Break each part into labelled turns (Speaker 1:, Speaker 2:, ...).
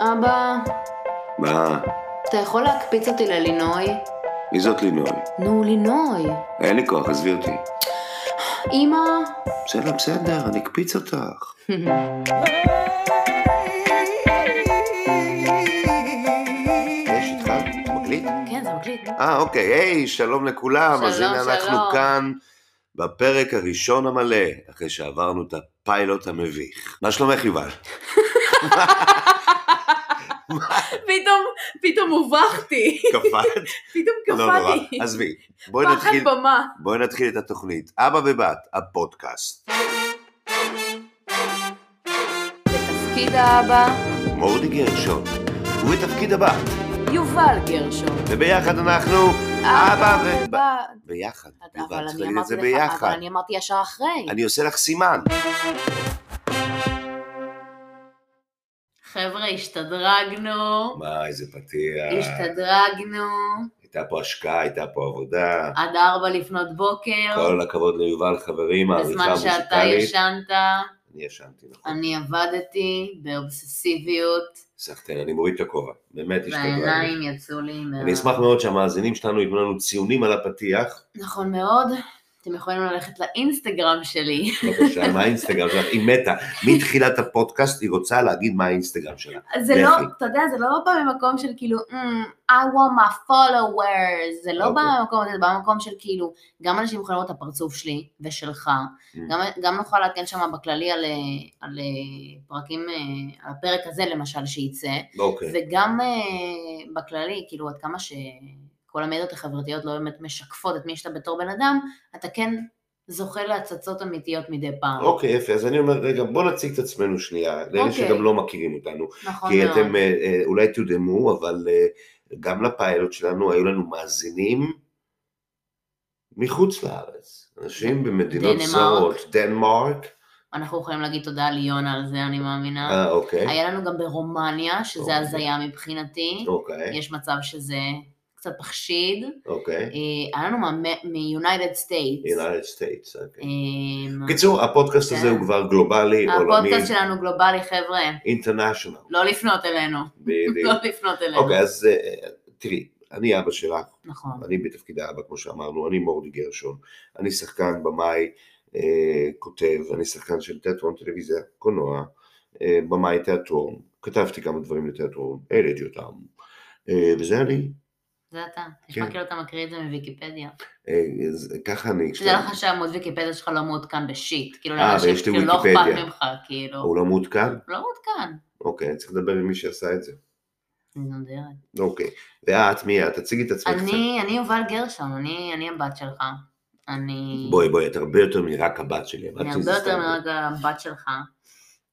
Speaker 1: אבא,
Speaker 2: מה?
Speaker 1: אתה יכול להקפיץ אותי ללינוי?
Speaker 2: מי זאת לינוי?
Speaker 1: נו, לינוי.
Speaker 2: אין לי כוח, עזבי אותי.
Speaker 1: אמא?
Speaker 2: בסדר, בסדר, אני אקפיץ אותך. יש איתך? אתה מקליט?
Speaker 1: כן, זה מקליט.
Speaker 2: אה, אוקיי, היי, שלום לכולם. אז
Speaker 1: שלום,
Speaker 2: הנה אנחנו
Speaker 1: שלום.
Speaker 2: כאן בפרק הראשון המלא, אחרי שעברנו את הפיילוט המביך. מה שלומך, יובל?
Speaker 3: פתאום, פתאום הובכתי,
Speaker 2: קפאת?
Speaker 3: פתאום
Speaker 2: לא נורא.
Speaker 3: קפאתי.
Speaker 2: עזבי, בואי
Speaker 3: פחד
Speaker 2: נתחיל.
Speaker 3: במה.
Speaker 2: בואי נתחיל את התוכנית. אבא ובת, הפודקאסט.
Speaker 1: בתפקיד האבא,
Speaker 2: מורדי גרשון, ובתפקיד הבת,
Speaker 1: יובל גרשון.
Speaker 2: וביחד אנחנו אבא ובת. ביחד.
Speaker 1: אבל
Speaker 2: יובל, צריך
Speaker 1: אני אמרתי לך,
Speaker 2: להגיד את זה
Speaker 1: אבל
Speaker 2: ביחד.
Speaker 1: אני אמרתי ישר אחרי.
Speaker 2: אני עושה לך סימן.
Speaker 3: חבר'ה, השתדרגנו,
Speaker 2: מה, איזה פתיח.
Speaker 3: השתדרגנו,
Speaker 2: הייתה פה השקעה, הייתה פה עבודה.
Speaker 3: עד ארבע לפנות בוקר,
Speaker 2: כל הכבוד ליובל, חברים, העריכה
Speaker 3: בזמן שאתה
Speaker 2: המוזיקלית.
Speaker 3: ישנת,
Speaker 2: אני ישנתי, נכון.
Speaker 3: אני עבדתי באובססיביות,
Speaker 2: סחטיין, אני מוריד את הכובע. באמת השתגעתי.
Speaker 3: והעיניים יצאו לי מה...
Speaker 2: אני אשמח מאוד שהמאזינים שלנו ייתנו לנו ציונים על הפתיח.
Speaker 3: נכון מאוד, אתם יכולים ללכת לאינסטגרם שלי.
Speaker 2: בבקשה, מה האינסטגרם שלך? היא מתה. מתחילת הפודקאסט היא רוצה להגיד מה האינסטגרם שלה.
Speaker 3: זה לא,
Speaker 2: לכי.
Speaker 3: אתה יודע, זה לא בא ממקום של כאילו, "Mm, I want my followers, זה לא בא
Speaker 2: אוקיי.
Speaker 3: ממקום הזה, זה בא ממקום של כאילו, גם אנשים יכולים לראות את הפרצוף שלי ושלך, גם, גם נוכל לעדכן שם בכללי על, אה, על אה, פרקים, אה, על הפרק הזה למשל שייצא,
Speaker 2: אוקיי.
Speaker 3: וגם אה, בכללי, כאילו עד כמה שכל המדיות החברתיות לא באמת משקפות את מי שאתה בתור בן אדם, אתה כן זוכה להצצות אמיתיות מדי פעם,
Speaker 2: אוקיי, יפה, אז אני אומר, רגע, בוא נציג את עצמנו שנייה, לאלה
Speaker 3: אוקיי.
Speaker 2: שגם לא מכירים אותנו.
Speaker 3: נכון
Speaker 2: כי
Speaker 3: מאוד.
Speaker 2: אתם אה, אה, אולי תודמו, אבל אה, גם לפיילוט שלנו היו לנו מאזינים מחוץ לארץ. אנשים במדינות
Speaker 3: דנמרק.
Speaker 2: זרות. דנמרק.
Speaker 3: אנחנו יכולים להגיד תודה ליונה על זה, אני מאמינה.
Speaker 2: אה, אוקיי.
Speaker 3: היה לנו גם ברומניה, שזה
Speaker 2: אוקיי.
Speaker 3: הזיה מבחינתי,
Speaker 2: אוקיי,
Speaker 3: יש מצב שזה קצת מחשיד.
Speaker 2: אוקיי.
Speaker 3: אה, היה לנו מיונייטד סטייטס.
Speaker 2: United States, אוקיי.
Speaker 3: אה.
Speaker 2: בקיצור, כאילו, לא, הפודקאסט הזה
Speaker 3: כן.
Speaker 2: הוא כבר גלובלי, עולמי,
Speaker 3: הפודקאסט שלנו גלובלי, חבר'ה,
Speaker 2: אינטרנשיונל.
Speaker 3: לא לפנות אלינו.
Speaker 2: בדיוק.
Speaker 3: לא לפנות אלינו.
Speaker 2: אוקיי, אז אה, תראי, אני אבא שלך,
Speaker 3: נכון.
Speaker 2: אני בתפקיד האבא, כמו שאמרנו, אני מורדי גרשון, אני שחקן, במאי, אה, כותב, אני שחקן של תיאטרון, טלוויזיה, קולנוע, אה, במאי תיאטרון, כתבתי כמה דברים לתיאטרון, העליתי אותם, אה, וזה אני,
Speaker 3: זה אתה.
Speaker 2: כן.
Speaker 3: נשמע כאילו אתה מקריא את זה מוויקיפדיה.
Speaker 2: אה, זה- ככה אני,
Speaker 3: שזה לך שהעמוד ויקיפדיה שלך לא מעודכן בשיט. כאילו,
Speaker 2: אה,
Speaker 3: לאנשים
Speaker 2: ויש לי
Speaker 3: כאילו לא אכפת
Speaker 2: ויקיפדיה.
Speaker 3: ממך, כאילו.
Speaker 2: הוא לא מעודכן?
Speaker 3: לא מעודכן.
Speaker 2: אוקיי, אני צריך לדבר עם מי שעשה את זה,
Speaker 3: אני נודרת.
Speaker 2: אוקיי, ואת, מי את? תציגי את עצמך קצת.
Speaker 3: אני, אני יובל גרשון, אני אני הבת שלך. אני...
Speaker 2: בואי, בואי, את הרבה יותר מרק הבת שלי, הבת
Speaker 3: אני
Speaker 2: שלי
Speaker 3: הרבה
Speaker 2: זה
Speaker 3: יותר
Speaker 2: סתם.
Speaker 3: מרגע הבת שלך.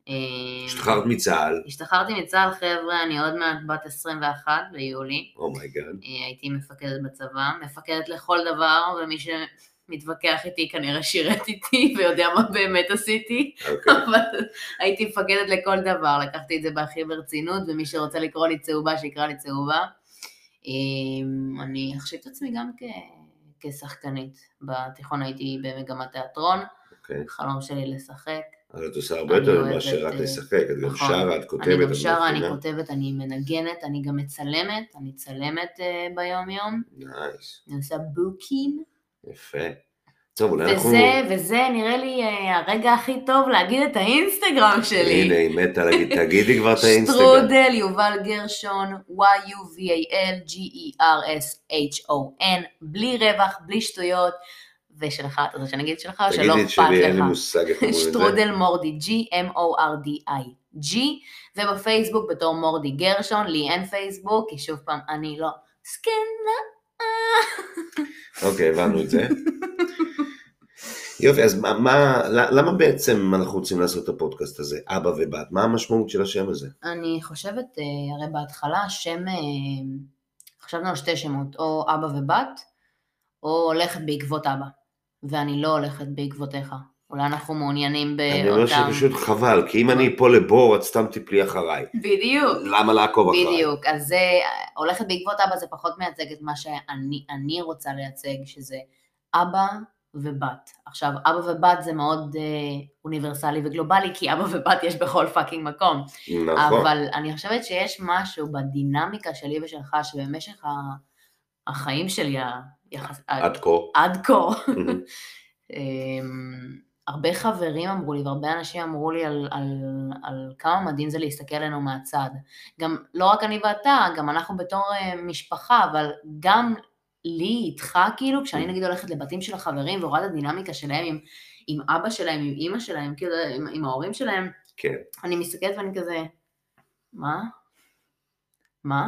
Speaker 3: אה,
Speaker 2: השתחררת מצה"ל,
Speaker 3: השתחררתי מצה"ל, חבר'ה, אני עוד מעט בת 21 ביולי.
Speaker 2: Oh אומייגאד,
Speaker 3: אה, הייתי מפקדת בצבא, מפקדת לכל דבר, ומי שמתווכח איתי כנראה שירת איתי ויודע מה באמת עשיתי,
Speaker 2: אוקיי.
Speaker 3: אבל הייתי מפקדת לכל דבר, לקחתי את זה בהכי ברצינות, ומי שרוצה לקרוא לי צהובה, שיקרא לי צהובה. אה, אני אחשיב את עצמי גם כ- כשחקנית. בתיכון הייתי במגמת תיאטרון,
Speaker 2: אוקיי.
Speaker 3: חלום שלי לשחק.
Speaker 2: אבל את עושה הרבה
Speaker 3: אני
Speaker 2: יותר
Speaker 3: אוהבת,
Speaker 2: מאשר רק
Speaker 3: אה,
Speaker 2: לשחק, את גם
Speaker 3: נכון.
Speaker 2: שרה, את כותבת,
Speaker 3: אני
Speaker 2: את
Speaker 3: גם שרה, אני
Speaker 2: מלחינה.
Speaker 3: כותבת, אני מנגנת, אני גם מצלמת, אני צלמת אה, ביום-יום,
Speaker 2: נייס,
Speaker 3: אני עושה בוקים,
Speaker 2: יפה. טוב, אולי אנחנו...
Speaker 3: וזה, וזה נראה לי אה, הרגע הכי טוב להגיד את האינסטגרם
Speaker 2: הנה,
Speaker 3: שלי.
Speaker 2: היא מתה להגיד, תגידי כבר את האינסטגרם.
Speaker 3: שטרודל יובל גרשון, E Y-U-V-A-L-G-E-R-S-H-O-N, בלי רווח, בלי שטויות, ושלך, אתה רוצה שאני אגיד שלך או שלא
Speaker 2: תגידי את
Speaker 3: אכפת
Speaker 2: שלי, אין לי
Speaker 3: לך?
Speaker 2: מושג איך אומרים את זה.
Speaker 3: שטרודל מורדי, G-M-O-R-D-I-G, ובפייסבוק בתור מורדי גרשון, לי אין פייסבוק, כי שוב פעם, אני לא סקנה.
Speaker 2: אוקיי, הבנו את זה. יופי, אז מה- מה, למה בעצם אנחנו רוצים לעשות את הפודקאסט הזה, אבא ובת? מה המשמעות של השם הזה?
Speaker 3: אני חושבת, אה, הרי בהתחלה השם, אה, חשבנו על שתי שמות, או אבא ובת, או הולכת בעקבות אבא, ואני לא הולכת בעקבותיך. אולי אנחנו מעוניינים
Speaker 2: אני אומר
Speaker 3: באותם...
Speaker 2: שפשוט חבל, כי אם אני אפול לבור, את סתם תפלי אחריי.
Speaker 3: בדיוק.
Speaker 2: למה לעקוב אחריי?
Speaker 3: בדיוק, אז זה, הולכת בעקבות אבא זה פחות מייצג את מה שאני אני רוצה לייצג, שזה אבא ובת. עכשיו, אבא ובת זה מאוד אה, אוניברסלי וגלובלי, כי אבא ובת יש בכל פאקינג מקום.
Speaker 2: נכון.
Speaker 3: אבל אני חושבת שיש משהו בדינמיקה שלי ושלך, שבמשך ה- החיים שלי, ה- יחס- ה-
Speaker 2: עד כה.
Speaker 3: עד כה,
Speaker 2: מהמם.
Speaker 3: אמ, הרבה חברים אמרו לי והרבה אנשים אמרו לי על, על, על כמה מדהים זה להסתכל עלינו מהצד. גם לא רק אני ואתה, גם אנחנו בתור אה, משפחה, אבל גם לי איתך, כאילו, כשאני נגיד הולכת לבתים של החברים ורואה את הדינמיקה שלהם עם, עם אבא שלהם, עם אימא שלהם, כאילו, עם, עם ההורים שלהם,
Speaker 2: כן.
Speaker 3: אני מסתכלת ואני כזה, מה? מה?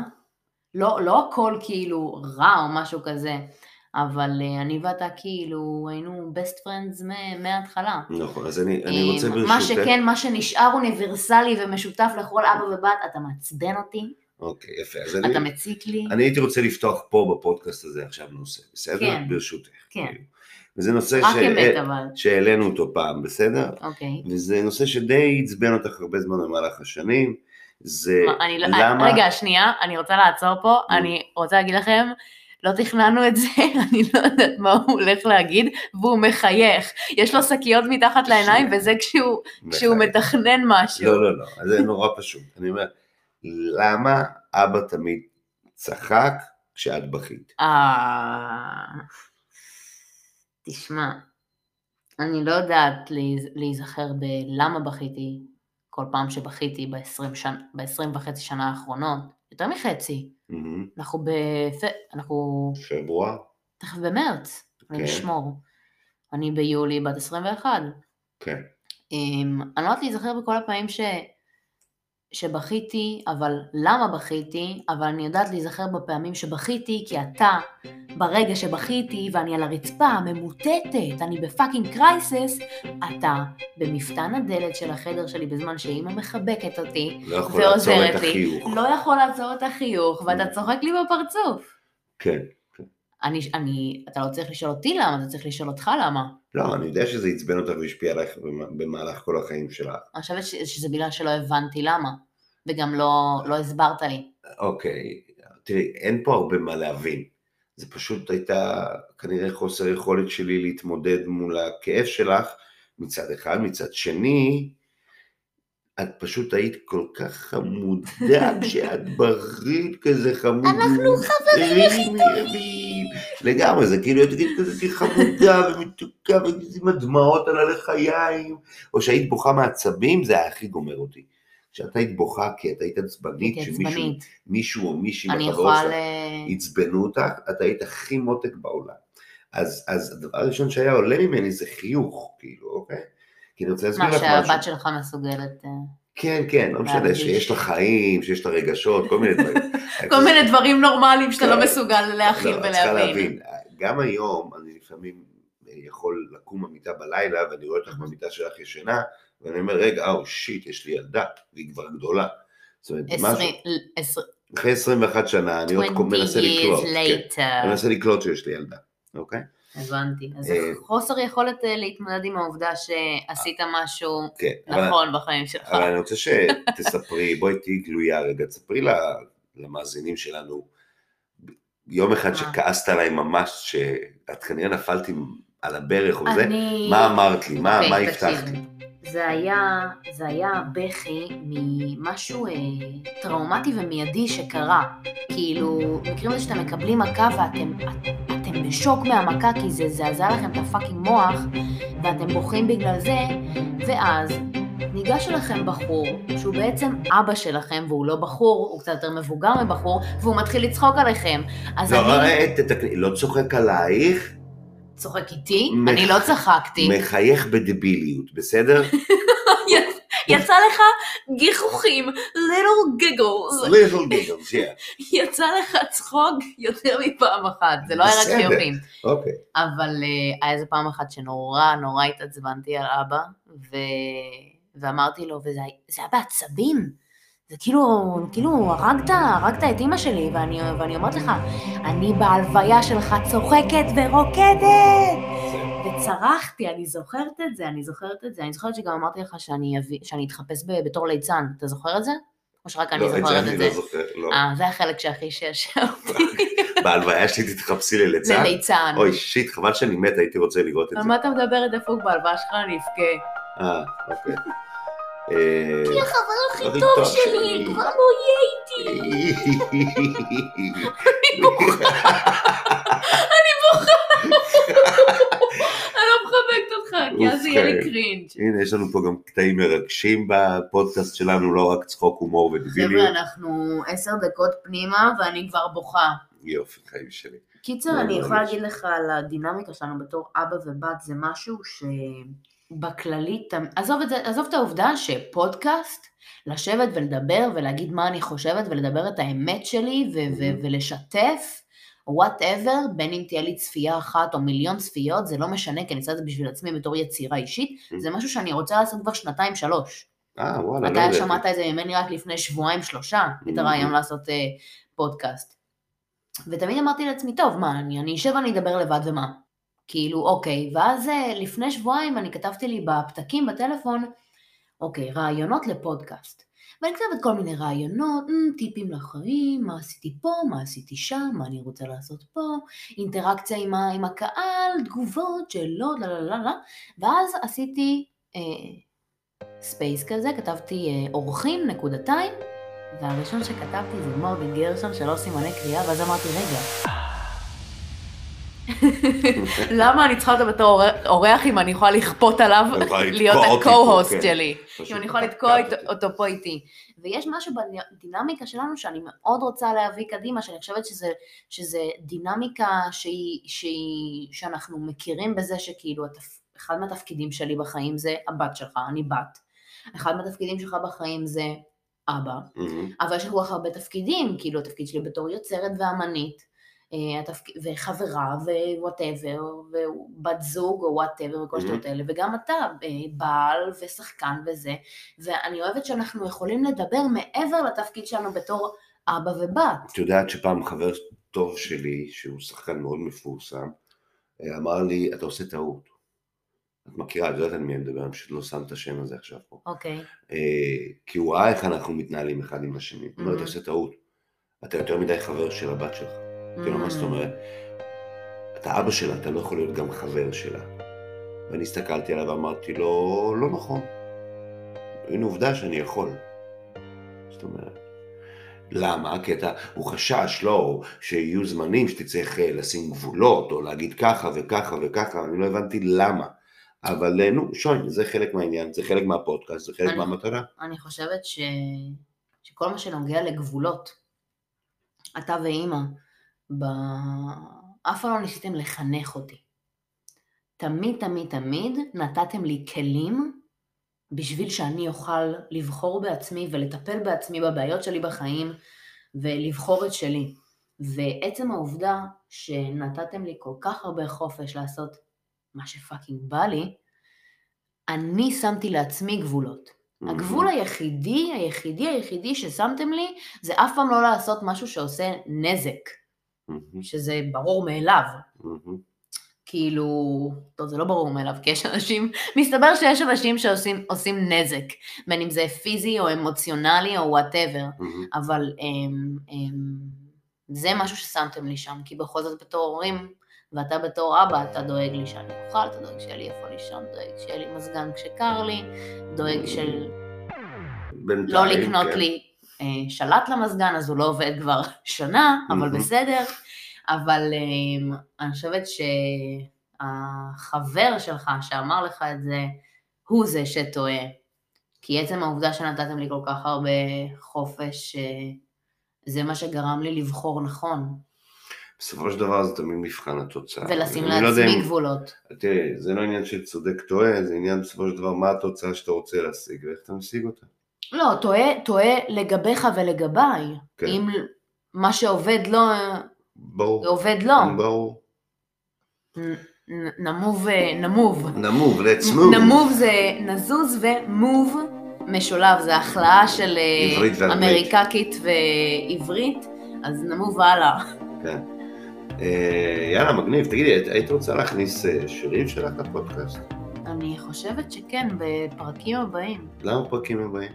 Speaker 3: לא, לא הכל כאילו רע או משהו כזה, אבל אה, אני ואתה כאילו היינו best friends מ- מההתחלה.
Speaker 2: נכון, אז אני, אני רוצה
Speaker 3: אה,
Speaker 2: ברשותך...
Speaker 3: מה שכן, מה שנשאר אוניברסלי ומשותף לכל אבא ובת, אתה מעצבן אותי,
Speaker 2: אוקיי, יפה. אז אני,
Speaker 3: אתה מציק לי.
Speaker 2: אני הייתי רוצה לפתוח פה בפודקאסט הזה עכשיו נושא, בסדר?
Speaker 3: כן.
Speaker 2: ברשותך. כאילו.
Speaker 3: כן.
Speaker 2: וזה נושא
Speaker 3: רק
Speaker 2: ש-
Speaker 3: אמת אבל,
Speaker 2: שהעלינו אותו פעם, בסדר?
Speaker 3: אוקיי.
Speaker 2: וזה נושא שדי עצבן אותך הרבה זמן במהלך השנים. זה
Speaker 3: מה, אני לא-
Speaker 2: אה, למה... אה.
Speaker 3: רגע, שנייה, אני רוצה לעצור פה,
Speaker 2: נו.
Speaker 3: אני רוצה להגיד לכם, לא תכננו את זה, אני לא יודעת מה הוא הולך להגיד, והוא מחייך. יש לו שקיות מתחת לעיניים, וזה כשהוא- כשהוא
Speaker 2: נכון.
Speaker 3: מתכנן משהו.
Speaker 2: לא, לא, לא, אז זה נורא פשוט. אני אומר, למה אבא תמיד צחק כשאת בכית?
Speaker 3: אה... תשמע, אני לא יודעת להיז- להיזכר בלמה בכיתי כל פעם שבכיתי ב-20 שנ- ב-20 וחצי שנה האחרונות, יותר מחצי.
Speaker 2: מהמם.
Speaker 3: אנחנו בפ... אנחנו
Speaker 2: פברואר?
Speaker 3: תכף במרץ, אני
Speaker 2: כן.
Speaker 3: אשמור. אני ביולי בת 21.
Speaker 2: כן.
Speaker 3: אמ, אני לא יודעת להיזכר בכל הפעמים ש... שבכיתי, אבל למה בכיתי, אבל אני יודעת להיזכר בפעמים שבכיתי, כי אתה, ברגע שבכיתי ואני על הרצפה, ממוטטת, אני בפאקינג קרייסס, אתה במפתן הדלת של החדר שלי בזמן שאימא מחבקת אותי,
Speaker 2: לא יכול
Speaker 3: ועוזרת
Speaker 2: לעצור את
Speaker 3: לי.
Speaker 2: החיוך.
Speaker 3: לא יכול לעצור את החיוך, ואתה צוחק לי בפרצוף.
Speaker 2: כן.
Speaker 3: אני, אני, אתה לא צריך לשאול אותי למה, אתה צריך לשאול אותך למה.
Speaker 2: לא, אני יודע שזה עצבן אותך והשפיע עלייך במ- במהלך כל החיים שלך.
Speaker 3: אני חושבת ש- שזה בגלל שלא הבנתי למה, וגם לא, לא הסברת לי.
Speaker 2: אוקיי, תראי, אין פה הרבה מה להבין. זה פשוט הייתה כנראה חוסר יכולת שלי להתמודד מול הכאב שלך מצד אחד, מצד שני, את פשוט היית כל כך חמודה כשאת ברית כזה חמוד.
Speaker 3: אנחנו
Speaker 2: חברים הכי טובים. לגמרי, זה כאילו את היית כזה חמודה ומתוקה וכזה עם הדמעות על הלחיים, או שהיית בוכה מעצבים, זה היה הכי גומר אותי. כשאת היית בוכה כי את היית עצבנית,
Speaker 3: הייתי
Speaker 2: שמישהו לא
Speaker 3: עצבנית.
Speaker 2: מישהו או מישהי
Speaker 3: כן, אני
Speaker 2: בחברות
Speaker 3: יכולה...
Speaker 2: שלך
Speaker 3: ל-
Speaker 2: עצבנו אותך, את היית הכי מותק בעולם. אז, אז הדבר הראשון שהיה עולה ממני זה חיוך, כאילו, אוקיי? כי אני רוצה להסביר
Speaker 3: מה
Speaker 2: לך משהו.
Speaker 3: לא, שהבת שלך מסוגלת. אה,
Speaker 2: כן, כן, לא משנה,
Speaker 3: להרגיש.
Speaker 2: שיש לה חיים, שיש לה רגשות, כל מיני דברים.
Speaker 3: כל מיני דברים נורמליים שאתה
Speaker 2: כן.
Speaker 3: לא מסוגל להכיל
Speaker 2: לא, את צריכה
Speaker 3: ולהבין.
Speaker 2: להבין, גם היום אני לפעמים יכול לקום במיטה בלילה, ואני רואה אותך במיטה שלך ישנה, ואני אומר, רגע, אה, שיט, יש לי ילדה, והיא כבר גדולה. זאת אומרת, משהו,
Speaker 3: עשרים- עשרים-
Speaker 2: אחרי 21 שנה, אני עוד
Speaker 3: 20
Speaker 2: מנסה לקלוט.
Speaker 3: years
Speaker 2: כן. אני
Speaker 3: later.
Speaker 2: מנסה לקלוט שיש לי ילדה, אוקיי?
Speaker 3: הבנתי. אז זה
Speaker 2: אה,
Speaker 3: חוסר יכולת אה, להתמודד עם העובדה שעשית משהו
Speaker 2: כן. אבל-
Speaker 3: נכון בחיים שלך.
Speaker 2: אבל אני רוצה שתספרי, בואי תהיי גלויה רגע, תספרי ל- למאזינים שלנו, יום אחד
Speaker 3: מה?
Speaker 2: שכעסת עליי ממש, שאת כנראה נפלתי על הברך או זה,
Speaker 3: אני...
Speaker 2: מה אמרת לי? מה
Speaker 3: אוקיי,
Speaker 2: מה
Speaker 3: תקשיב.
Speaker 2: הבטחת לי?
Speaker 3: זה היה, זה היה בכי ממשהו אה, טראומטי ומיידי שקרה. כאילו, מקרים הזה שאתם מקבלים מכה ואתם את- אתם בשוק מהמכה כי זה זעזע לכם את הפאקינג מוח, ואתם בוכים בגלל זה, ואז ניגש אליכם בחור, שהוא בעצם אבא שלכם, והוא לא בחור, הוא קצת יותר מבוגר מבחור, והוא מתחיל לצחוק עליכם. אז
Speaker 2: לא,
Speaker 3: אני...
Speaker 2: אה, תתקני, לא צוחק עלייך,
Speaker 3: צוחק איתי?
Speaker 2: מח-
Speaker 3: אני לא צחקתי.
Speaker 2: מחייך בדביליות, בסדר?
Speaker 3: יצ- יצא לך גיחוכים, little giggles,
Speaker 2: little giggles, yeah.
Speaker 3: יצא לך צחוק יותר מפעם אחת, זה לא היה רק
Speaker 2: בסדר.
Speaker 3: חיוכים.
Speaker 2: אוקיי.
Speaker 3: אבל אה, היה איזה פעם אחת שנורא נורא התעצבנתי על אבא, ו... ואמרתי לו, וזה זה היה בעצבים. זה כאילו, כאילו, הרגת, הרגת את אימא שלי, ואני, ואני אומרת לך, אני בהלוויה שלך צוחקת ורוקדת! וצרחתי, אני זוכרת את זה, אני זוכרת את זה. אני זוכרת שגם אמרתי לך שאני, אביא, שאני אתחפש ב, בתור ליצן, אתה זוכר את זה? או או שרק אני
Speaker 2: לא, את
Speaker 3: זוכרת
Speaker 2: אני
Speaker 3: את זה.
Speaker 2: לא זוכר, לא.
Speaker 3: אה, זה החלק שהכי שעשע אותי.
Speaker 2: בהלוויה שלי תתחפשי
Speaker 3: זה
Speaker 2: לליצן?
Speaker 3: ליצן.
Speaker 2: אוי שיט, חבל שאני מת, הייתי רוצה לראות את
Speaker 3: על
Speaker 2: זה.
Speaker 3: מה אתה מדבר דפוק בהלוואה שלך? אני אבכה.
Speaker 2: אה, אוקיי. אה,
Speaker 3: החבר
Speaker 2: הכי הכי טוב טוב שלי, שלי. כבר
Speaker 3: לא יהיה אני לא מחבקת אותך, כי אז יהיה לי
Speaker 2: אוקיי.
Speaker 3: קרינג'.
Speaker 2: הנה, יש לנו פה גם קטעים מרגשים בפודקאסט שלנו, לא רק צחוק, הומור ודיביליות.
Speaker 3: חבר'ה, אנחנו עשר דקות פנימה ואני כבר בוכה.
Speaker 2: יופי, חיים שלי.
Speaker 3: קיצר,
Speaker 2: לא,
Speaker 3: אני
Speaker 2: לא,
Speaker 3: יכולה
Speaker 2: יש.
Speaker 3: להגיד לך על הדינמיקה שלנו בתור אבא ובת, זה משהו שבכללי, תמ- עזוב את זה, עזוב את העובדה שפודקאסט, לשבת ולדבר ולהגיד מה אני חושבת ולדבר את האמת שלי ו- ו- ולשתף, וואטאבר, בין אם תהיה לי צפייה אחת או מיליון צפיות, זה לא משנה, כי אני עושה את זה בשביל עצמי בתור יצירה אישית, זה משהו שאני רוצה לעשות כבר שנתיים-שלוש.
Speaker 2: אה, וואלה, לא
Speaker 3: אתה
Speaker 2: ידעתי.
Speaker 3: שמעת את זה ממני רק לפני שבועיים-שלושה, את הרעיון לעשות אה, פודקאסט. ותמיד אמרתי לעצמי, טוב, מה, אני אני אשב ואני אדבר לבד ומה? כאילו, אוקיי. ואז אה, לפני שבועיים אני כתבתי לי בפתקים בטלפון, אוקיי, רעיונות לפודקאסט. ואני כותבת כל מיני רעיונות, "מ, טיפים לחיים, מה עשיתי פה, מה עשיתי שם, מה אני רוצה לעשות פה, אינטראקציה עם, ה, עם הקהל, תגובות, שאלות, לא, לה לה לה לה. ואז עשיתי אה, ספייס כזה, כתבתי אה, אורחים, נקודתיים, והראשון שכתבתי זה מורגן גרשון שלא סימני קריאה, ואז אמרתי, רגע. למה אני צריכה אותו בתור אורח אם אני יכולה לכפות עליו
Speaker 2: אני יכולה
Speaker 3: להיות
Speaker 2: לתקוע אותי פה,
Speaker 3: ה-co-host
Speaker 2: כן.
Speaker 3: שלי?
Speaker 2: פשוט
Speaker 3: אם אני יכולה
Speaker 2: קטעת
Speaker 3: לתקוע
Speaker 2: אותי.
Speaker 3: אית- אותו פה איתי. ויש משהו בדינמיקה שלנו שאני מאוד רוצה להביא קדימה, שאני חושבת שזה, שזה דינמיקה שהיא, שהיא, שאנחנו מכירים בזה שכאילו התפ... אחד מהתפקידים שלי בחיים זה הבת שלך, אני בת. אחד מהתפקידים שלך בחיים זה אבא.
Speaker 2: מהמם.
Speaker 3: אבל יש כל כך הרבה תפקידים, כאילו התפקיד שלי בתור יוצרת ואמנית, אה, התפק... וחברה ווואטאבר, ובת זוג או וואטאבר וכל השטויות האלה, וגם אתה אה, בעל ושחקן וזה, ואני אוהבת שאנחנו יכולים לדבר מעבר לתפקיד שלנו בתור אבא ובת.
Speaker 2: את יודעת שפעם חבר טוב שלי, שהוא שחקן מאוד מפורסם, אה, אמר לי, אתה עושה טעות. את מכירה, את יודעת על מי אני מדבר, אני פשוט לא שם את השם הזה עכשיו פה.
Speaker 3: אוקיי.
Speaker 2: אה, כי הוא ראה איך אנחנו מתנהלים אחד עם השני. הוא אומר, אתה עושה טעות. אתה יותר מדי חבר של הבת שלך. כאילו, מה
Speaker 3: Mm-hmm.
Speaker 2: זאת אומרת? אתה אבא שלה, אתה לא יכול להיות גם חבר שלה. ואני הסתכלתי עליו ואמרתי לו, לא נכון. הנה עובדה שאני יכול. זאת אומרת. למה? הקטע, הוא חשש, לא, שיהיו זמנים שתצטרך אה, לשים גבולות, או להגיד ככה וככה וככה, אני לא הבנתי למה. אבל אה, נו, שוין, זה חלק מהעניין, זה חלק מהפודקאסט, זה חלק
Speaker 3: אני-
Speaker 2: מהמטרה.
Speaker 3: אני חושבת ש... שכל מה שנוגע לגבולות, אתה ואימא, ב... אף פעם לא ניסיתם לחנך אותי. תמיד, תמיד, תמיד נתתם לי כלים בשביל שאני אוכל לבחור בעצמי ולטפל בעצמי בבעיות שלי בחיים ולבחור את שלי. ועצם העובדה שנתתם לי כל כך הרבה חופש לעשות מה שפאקינג בא לי, אני שמתי לעצמי גבולות. הגבול
Speaker 2: Mm-hmm.
Speaker 3: היחידי, היחידי, היחידי ששמתם לי, זה אף פעם לא לעשות משהו שעושה נזק,
Speaker 2: מהמם,
Speaker 3: שזה ברור מאליו.
Speaker 2: מהמם.
Speaker 3: כאילו, טוב, זה לא ברור מאליו, כי יש אנשים, מסתבר שיש אנשים שעושים עושים נזק, בין אם זה פיזי או אמוציונלי או וואטאבר,
Speaker 2: מהמם.
Speaker 3: אבל הם, הם, זה משהו ששמתם לי שם, כי בכל זאת בתור הורים, ואתה בתור אבא, אתה דואג לי שאני אוכל, אתה דואג שיהיה לי איפה לישון, דואג שיהיה לי מזגן כשקר לי, דואג של...
Speaker 2: בינתיים,
Speaker 3: לא לקנות
Speaker 2: כן.
Speaker 3: לי אה, שלט למזגן, אז הוא לא עובד כבר שנה, אבל
Speaker 2: מהמם.
Speaker 3: בסדר. אבל אה, אני חושבת שהחבר שלך שאמר לך את זה, הוא זה שטועה. כי עצם העובדה שנתתם לי כל כך הרבה חופש, אה, זה מה שגרם לי לבחור נכון,
Speaker 2: בסופו של דבר זה תמיד מבחן התוצאה.
Speaker 3: ולשים
Speaker 2: אני לא יודע
Speaker 3: לעצמי
Speaker 2: אם-
Speaker 3: גבולות.
Speaker 2: תראי, זה לא עניין של צודק טועה, זה עניין בסופו של דבר מה התוצאה שאתה רוצה להשיג ואיך אתה משיג אותה.
Speaker 3: לא, טועה, טועה לגביך ולגביי.
Speaker 2: כן.
Speaker 3: אם מה שעובד לו,
Speaker 2: ברור.
Speaker 3: עובד לו.
Speaker 2: ברור.
Speaker 3: נ- נמוב, אה, נמוב.
Speaker 2: נמוב, let's move.
Speaker 3: נמוב זה נזוז ומוב משולב, זה החלאה של אה,
Speaker 2: עברית ואנגלית.
Speaker 3: אמריקקית ועברית, אז נמוב הלאה.
Speaker 2: כן. אה, יאללה, מגניב. תגידי, היית- היית רוצה להכניס אה, שירים שלך לפודקאסט?
Speaker 3: אני חושבת שכן, בפרקים הבאים.
Speaker 2: למה פרקים הבאים?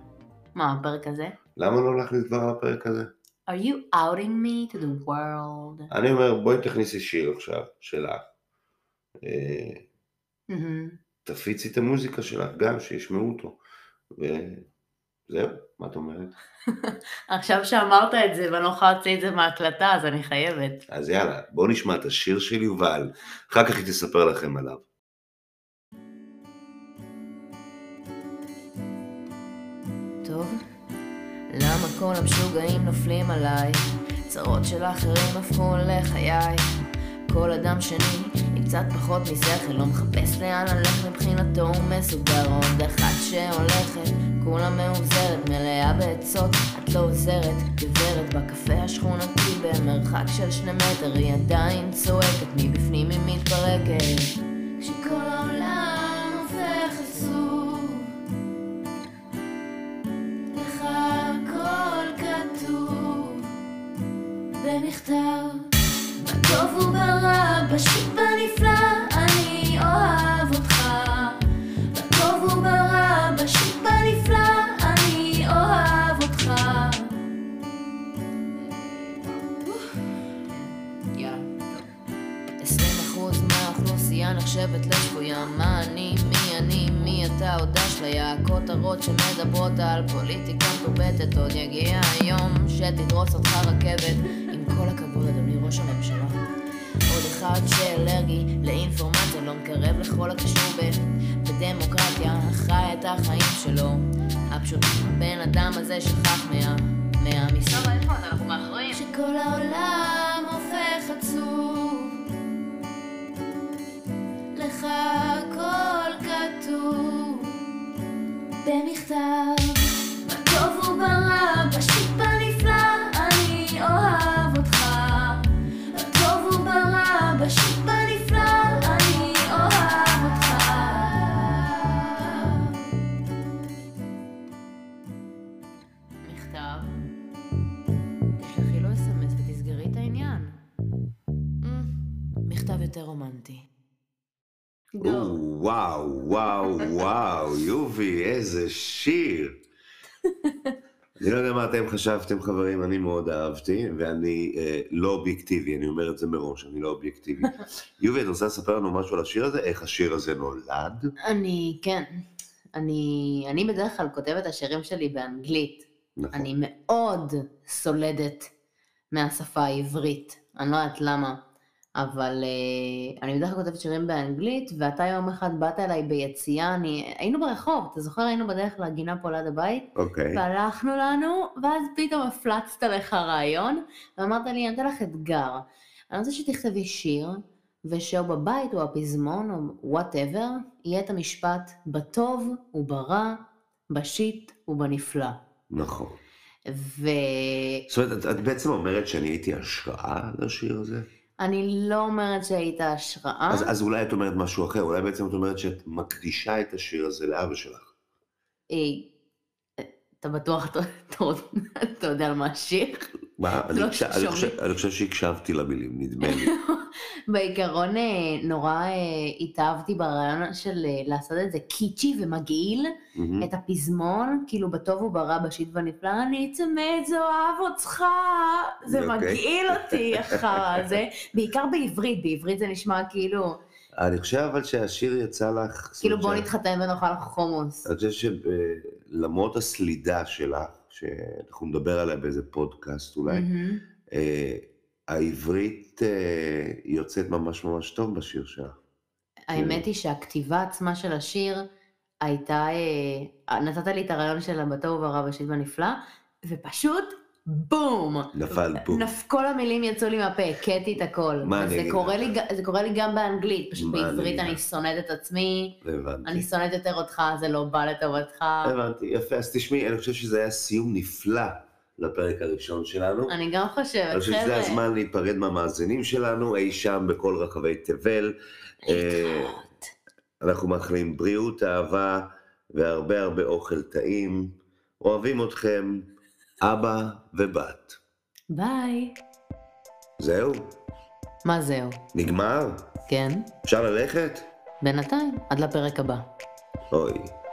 Speaker 3: מה, הפרק הזה?
Speaker 2: למה לא להכניס דבר לפרק הזה?
Speaker 3: are you outing me to the world?
Speaker 2: אני אומר, בואי תכניסי שיר עכשיו, שלך. אה,
Speaker 3: מהמם.
Speaker 2: תפיצי את המוזיקה שלך גם, שישמעו אותו. וזהו, מה את אומרת?
Speaker 3: עכשיו שאמרת את זה ואני לא יכולה להוציא את זה מההקלטה, אז אני חייבת.
Speaker 2: אז יאללה, בואו נשמע את השיר של יובל, אחר כך היא תספר לכם עליו.
Speaker 1: טוב, למה כל המשוגעים נופלים עליי? צרות של אחרים הפכו לחיי. כל אדם שני עם קצת פחות משכל לא מחפש לאן ללך מבחינתו הוא מסודר עוד אחת שהולכת כולה מאובזרת מלאה בעצות את לא עוזרת גברת בקפה השכונתי במרחק של שני מטר היא עדיין צועקת מבפנים היא מתפרקת כשכל העולם הופך עצוב לך הכל כתוב במכתב. בטוב וברע, פשוט בנפלא, אני אוהב אותך. בטוב וברע, פשוט בנפלא, אני אוהב אותך.
Speaker 3: יאללה. טוב.
Speaker 1: 20% מהאוכלוסייה נחשבת לשפויה מה אני, מי אני, מי אתה עוד אשליה הכותרות שמדברות על פוליטיקה מטובטת עוד יגיע היום שתדרוס אותך רכבת עם כל הכבוד אדוני ראש הממשלה עוד אחד שאלרגי לאינפורמציה לא מקרב לכל הקשור ב- בדמוקרטיה חי את החיים שלו הפשוטים הבן אדם הזה שכח מה... מהמיסים
Speaker 3: טוב, איפה עוד? אנחנו מאחרים.
Speaker 1: שכל העולם הופך עצוב. לך הכל כתוב במכתב. בטוב וברע, פשוט בנפלא, אני אוהב אותך. בטוב וברע, פשוט בנפלא, אני אוהב אותך.
Speaker 3: מכתב.
Speaker 1: תשלחי לו לא אס.אם.אס ותסגרי את העניין. Mm, מכתב יותר רומנטי.
Speaker 3: גו.
Speaker 2: וואו, וואו, וואו, יובי, איזה שיר. אני לא יודע מה אתם חשבתם, חברים, אני מאוד אהבתי, ואני אה, לא אובייקטיבי, אני אומר את זה מראש, אני לא אובייקטיבי. יובי, את רוצה לספר לנו משהו על השיר הזה? איך השיר הזה נולד?
Speaker 3: אני, כן. אני, אני בדרך כלל כותבת את השירים שלי באנגלית.
Speaker 2: נכון.
Speaker 3: אני מאוד סולדת מהשפה העברית. אני לא יודעת למה, אבל אה, אני בדרך כלל כותבת שירים באנגלית, ואתה יום אחד באת אליי ביציאה, אני... היינו ברחוב, אתה זוכר? היינו בדרך לגינה פה ליד הבית,
Speaker 2: אוקיי.
Speaker 3: והלכנו לנו, ואז פתאום הפלצת לך רעיון, ואמרת לי, אני אתן לך אתגר. אני רוצה שתכתבי שיר, ושהוא בבית, או הפזמון, או וואטאבר, יהיה את המשפט בטוב וברע, בשיט ובנפלא.
Speaker 2: נכון.
Speaker 3: ואני
Speaker 2: זאת אומרת, את- את בעצם אומרת שאני הייתי השראה לשיר הזה?
Speaker 3: לא אומרת שהיית השראה.
Speaker 2: אז, אז אולי את אומרת משהו אחר, אולי בעצם את אומרת שאת מקדישה את השיר הזה לאבא שלך.
Speaker 3: היי, אה, אתה בטוח, אתה- אתה- אתה יודע על מה השיר?
Speaker 2: מה, אני,
Speaker 3: לא,
Speaker 2: הקש... אני,
Speaker 3: שומעים.
Speaker 2: חושב, אני חושב שהקשבתי למילים, נדמה לי.
Speaker 3: בעיקרון אה, נורא אה, התאהבתי ברעיון של אה, לעשות את זה קיצ'י ומגעיל,
Speaker 2: מהמם.
Speaker 3: את הפזמון, כאילו בטוב וברע, בשיט ונפלא, אני צמד זוהב אותך, זה
Speaker 2: אוקיי.
Speaker 3: מגעיל אותי אחר הזה, בעיקר בעברית, בעברית זה נשמע כאילו,
Speaker 2: אני חושב אבל שהשיר יצא לך... זאת
Speaker 3: כאילו
Speaker 2: אומרת
Speaker 3: בוא
Speaker 2: שה-
Speaker 3: נתחתן ונאכל חומוס.
Speaker 2: אני חושב שלמרות הסלידה שלך, שאנחנו נדבר עליה באיזה פודקאסט אולי,
Speaker 3: מהמם.
Speaker 2: אה, העברית אה, יוצאת ממש ממש טוב בשיר שלך. כן.
Speaker 3: האמת היא שהכתיבה עצמה של השיר הייתה, אה, נתת לי את הרעיון של הבטוב וברע בשיט ונפלא, ופשוט בום.
Speaker 2: נפל בום.
Speaker 3: אה, נפ- כל המילים יצאו לי מהפה, הכיתי את הכל.
Speaker 2: מה אני
Speaker 3: וזה
Speaker 2: אגיד
Speaker 3: קורה
Speaker 2: לך?
Speaker 3: לי ג- זה קורה לי גם באנגלית, פשוט
Speaker 2: מה אני
Speaker 3: בעברית
Speaker 2: אגיד
Speaker 3: אני
Speaker 2: לך?
Speaker 3: שונאת את עצמי,
Speaker 2: הבנתי.
Speaker 3: אני שונאת יותר אותך, זה לא בא לטובתך.
Speaker 2: הבנתי, יפה. אז תשמעי, אני חושב שזה היה סיום נפלא לפרק הראשון שלנו.
Speaker 3: אני גם
Speaker 2: אני
Speaker 3: חושבת,
Speaker 2: חושב שזה
Speaker 3: חבר'ה,
Speaker 2: הזמן להיפרד מהמאזינים שלנו, אי שם בכל רחבי תבל. אה, אנחנו מאחלים בריאות, אהבה והרבה הרבה אוכל טעים. אוהבים אתכם, אבא ובת.
Speaker 3: ביי.
Speaker 2: זהו,
Speaker 3: מה זהו?
Speaker 2: נגמר?
Speaker 3: כן,
Speaker 2: אפשר ללכת?
Speaker 3: בינתיים, עד לפרק הבא.
Speaker 2: אוי.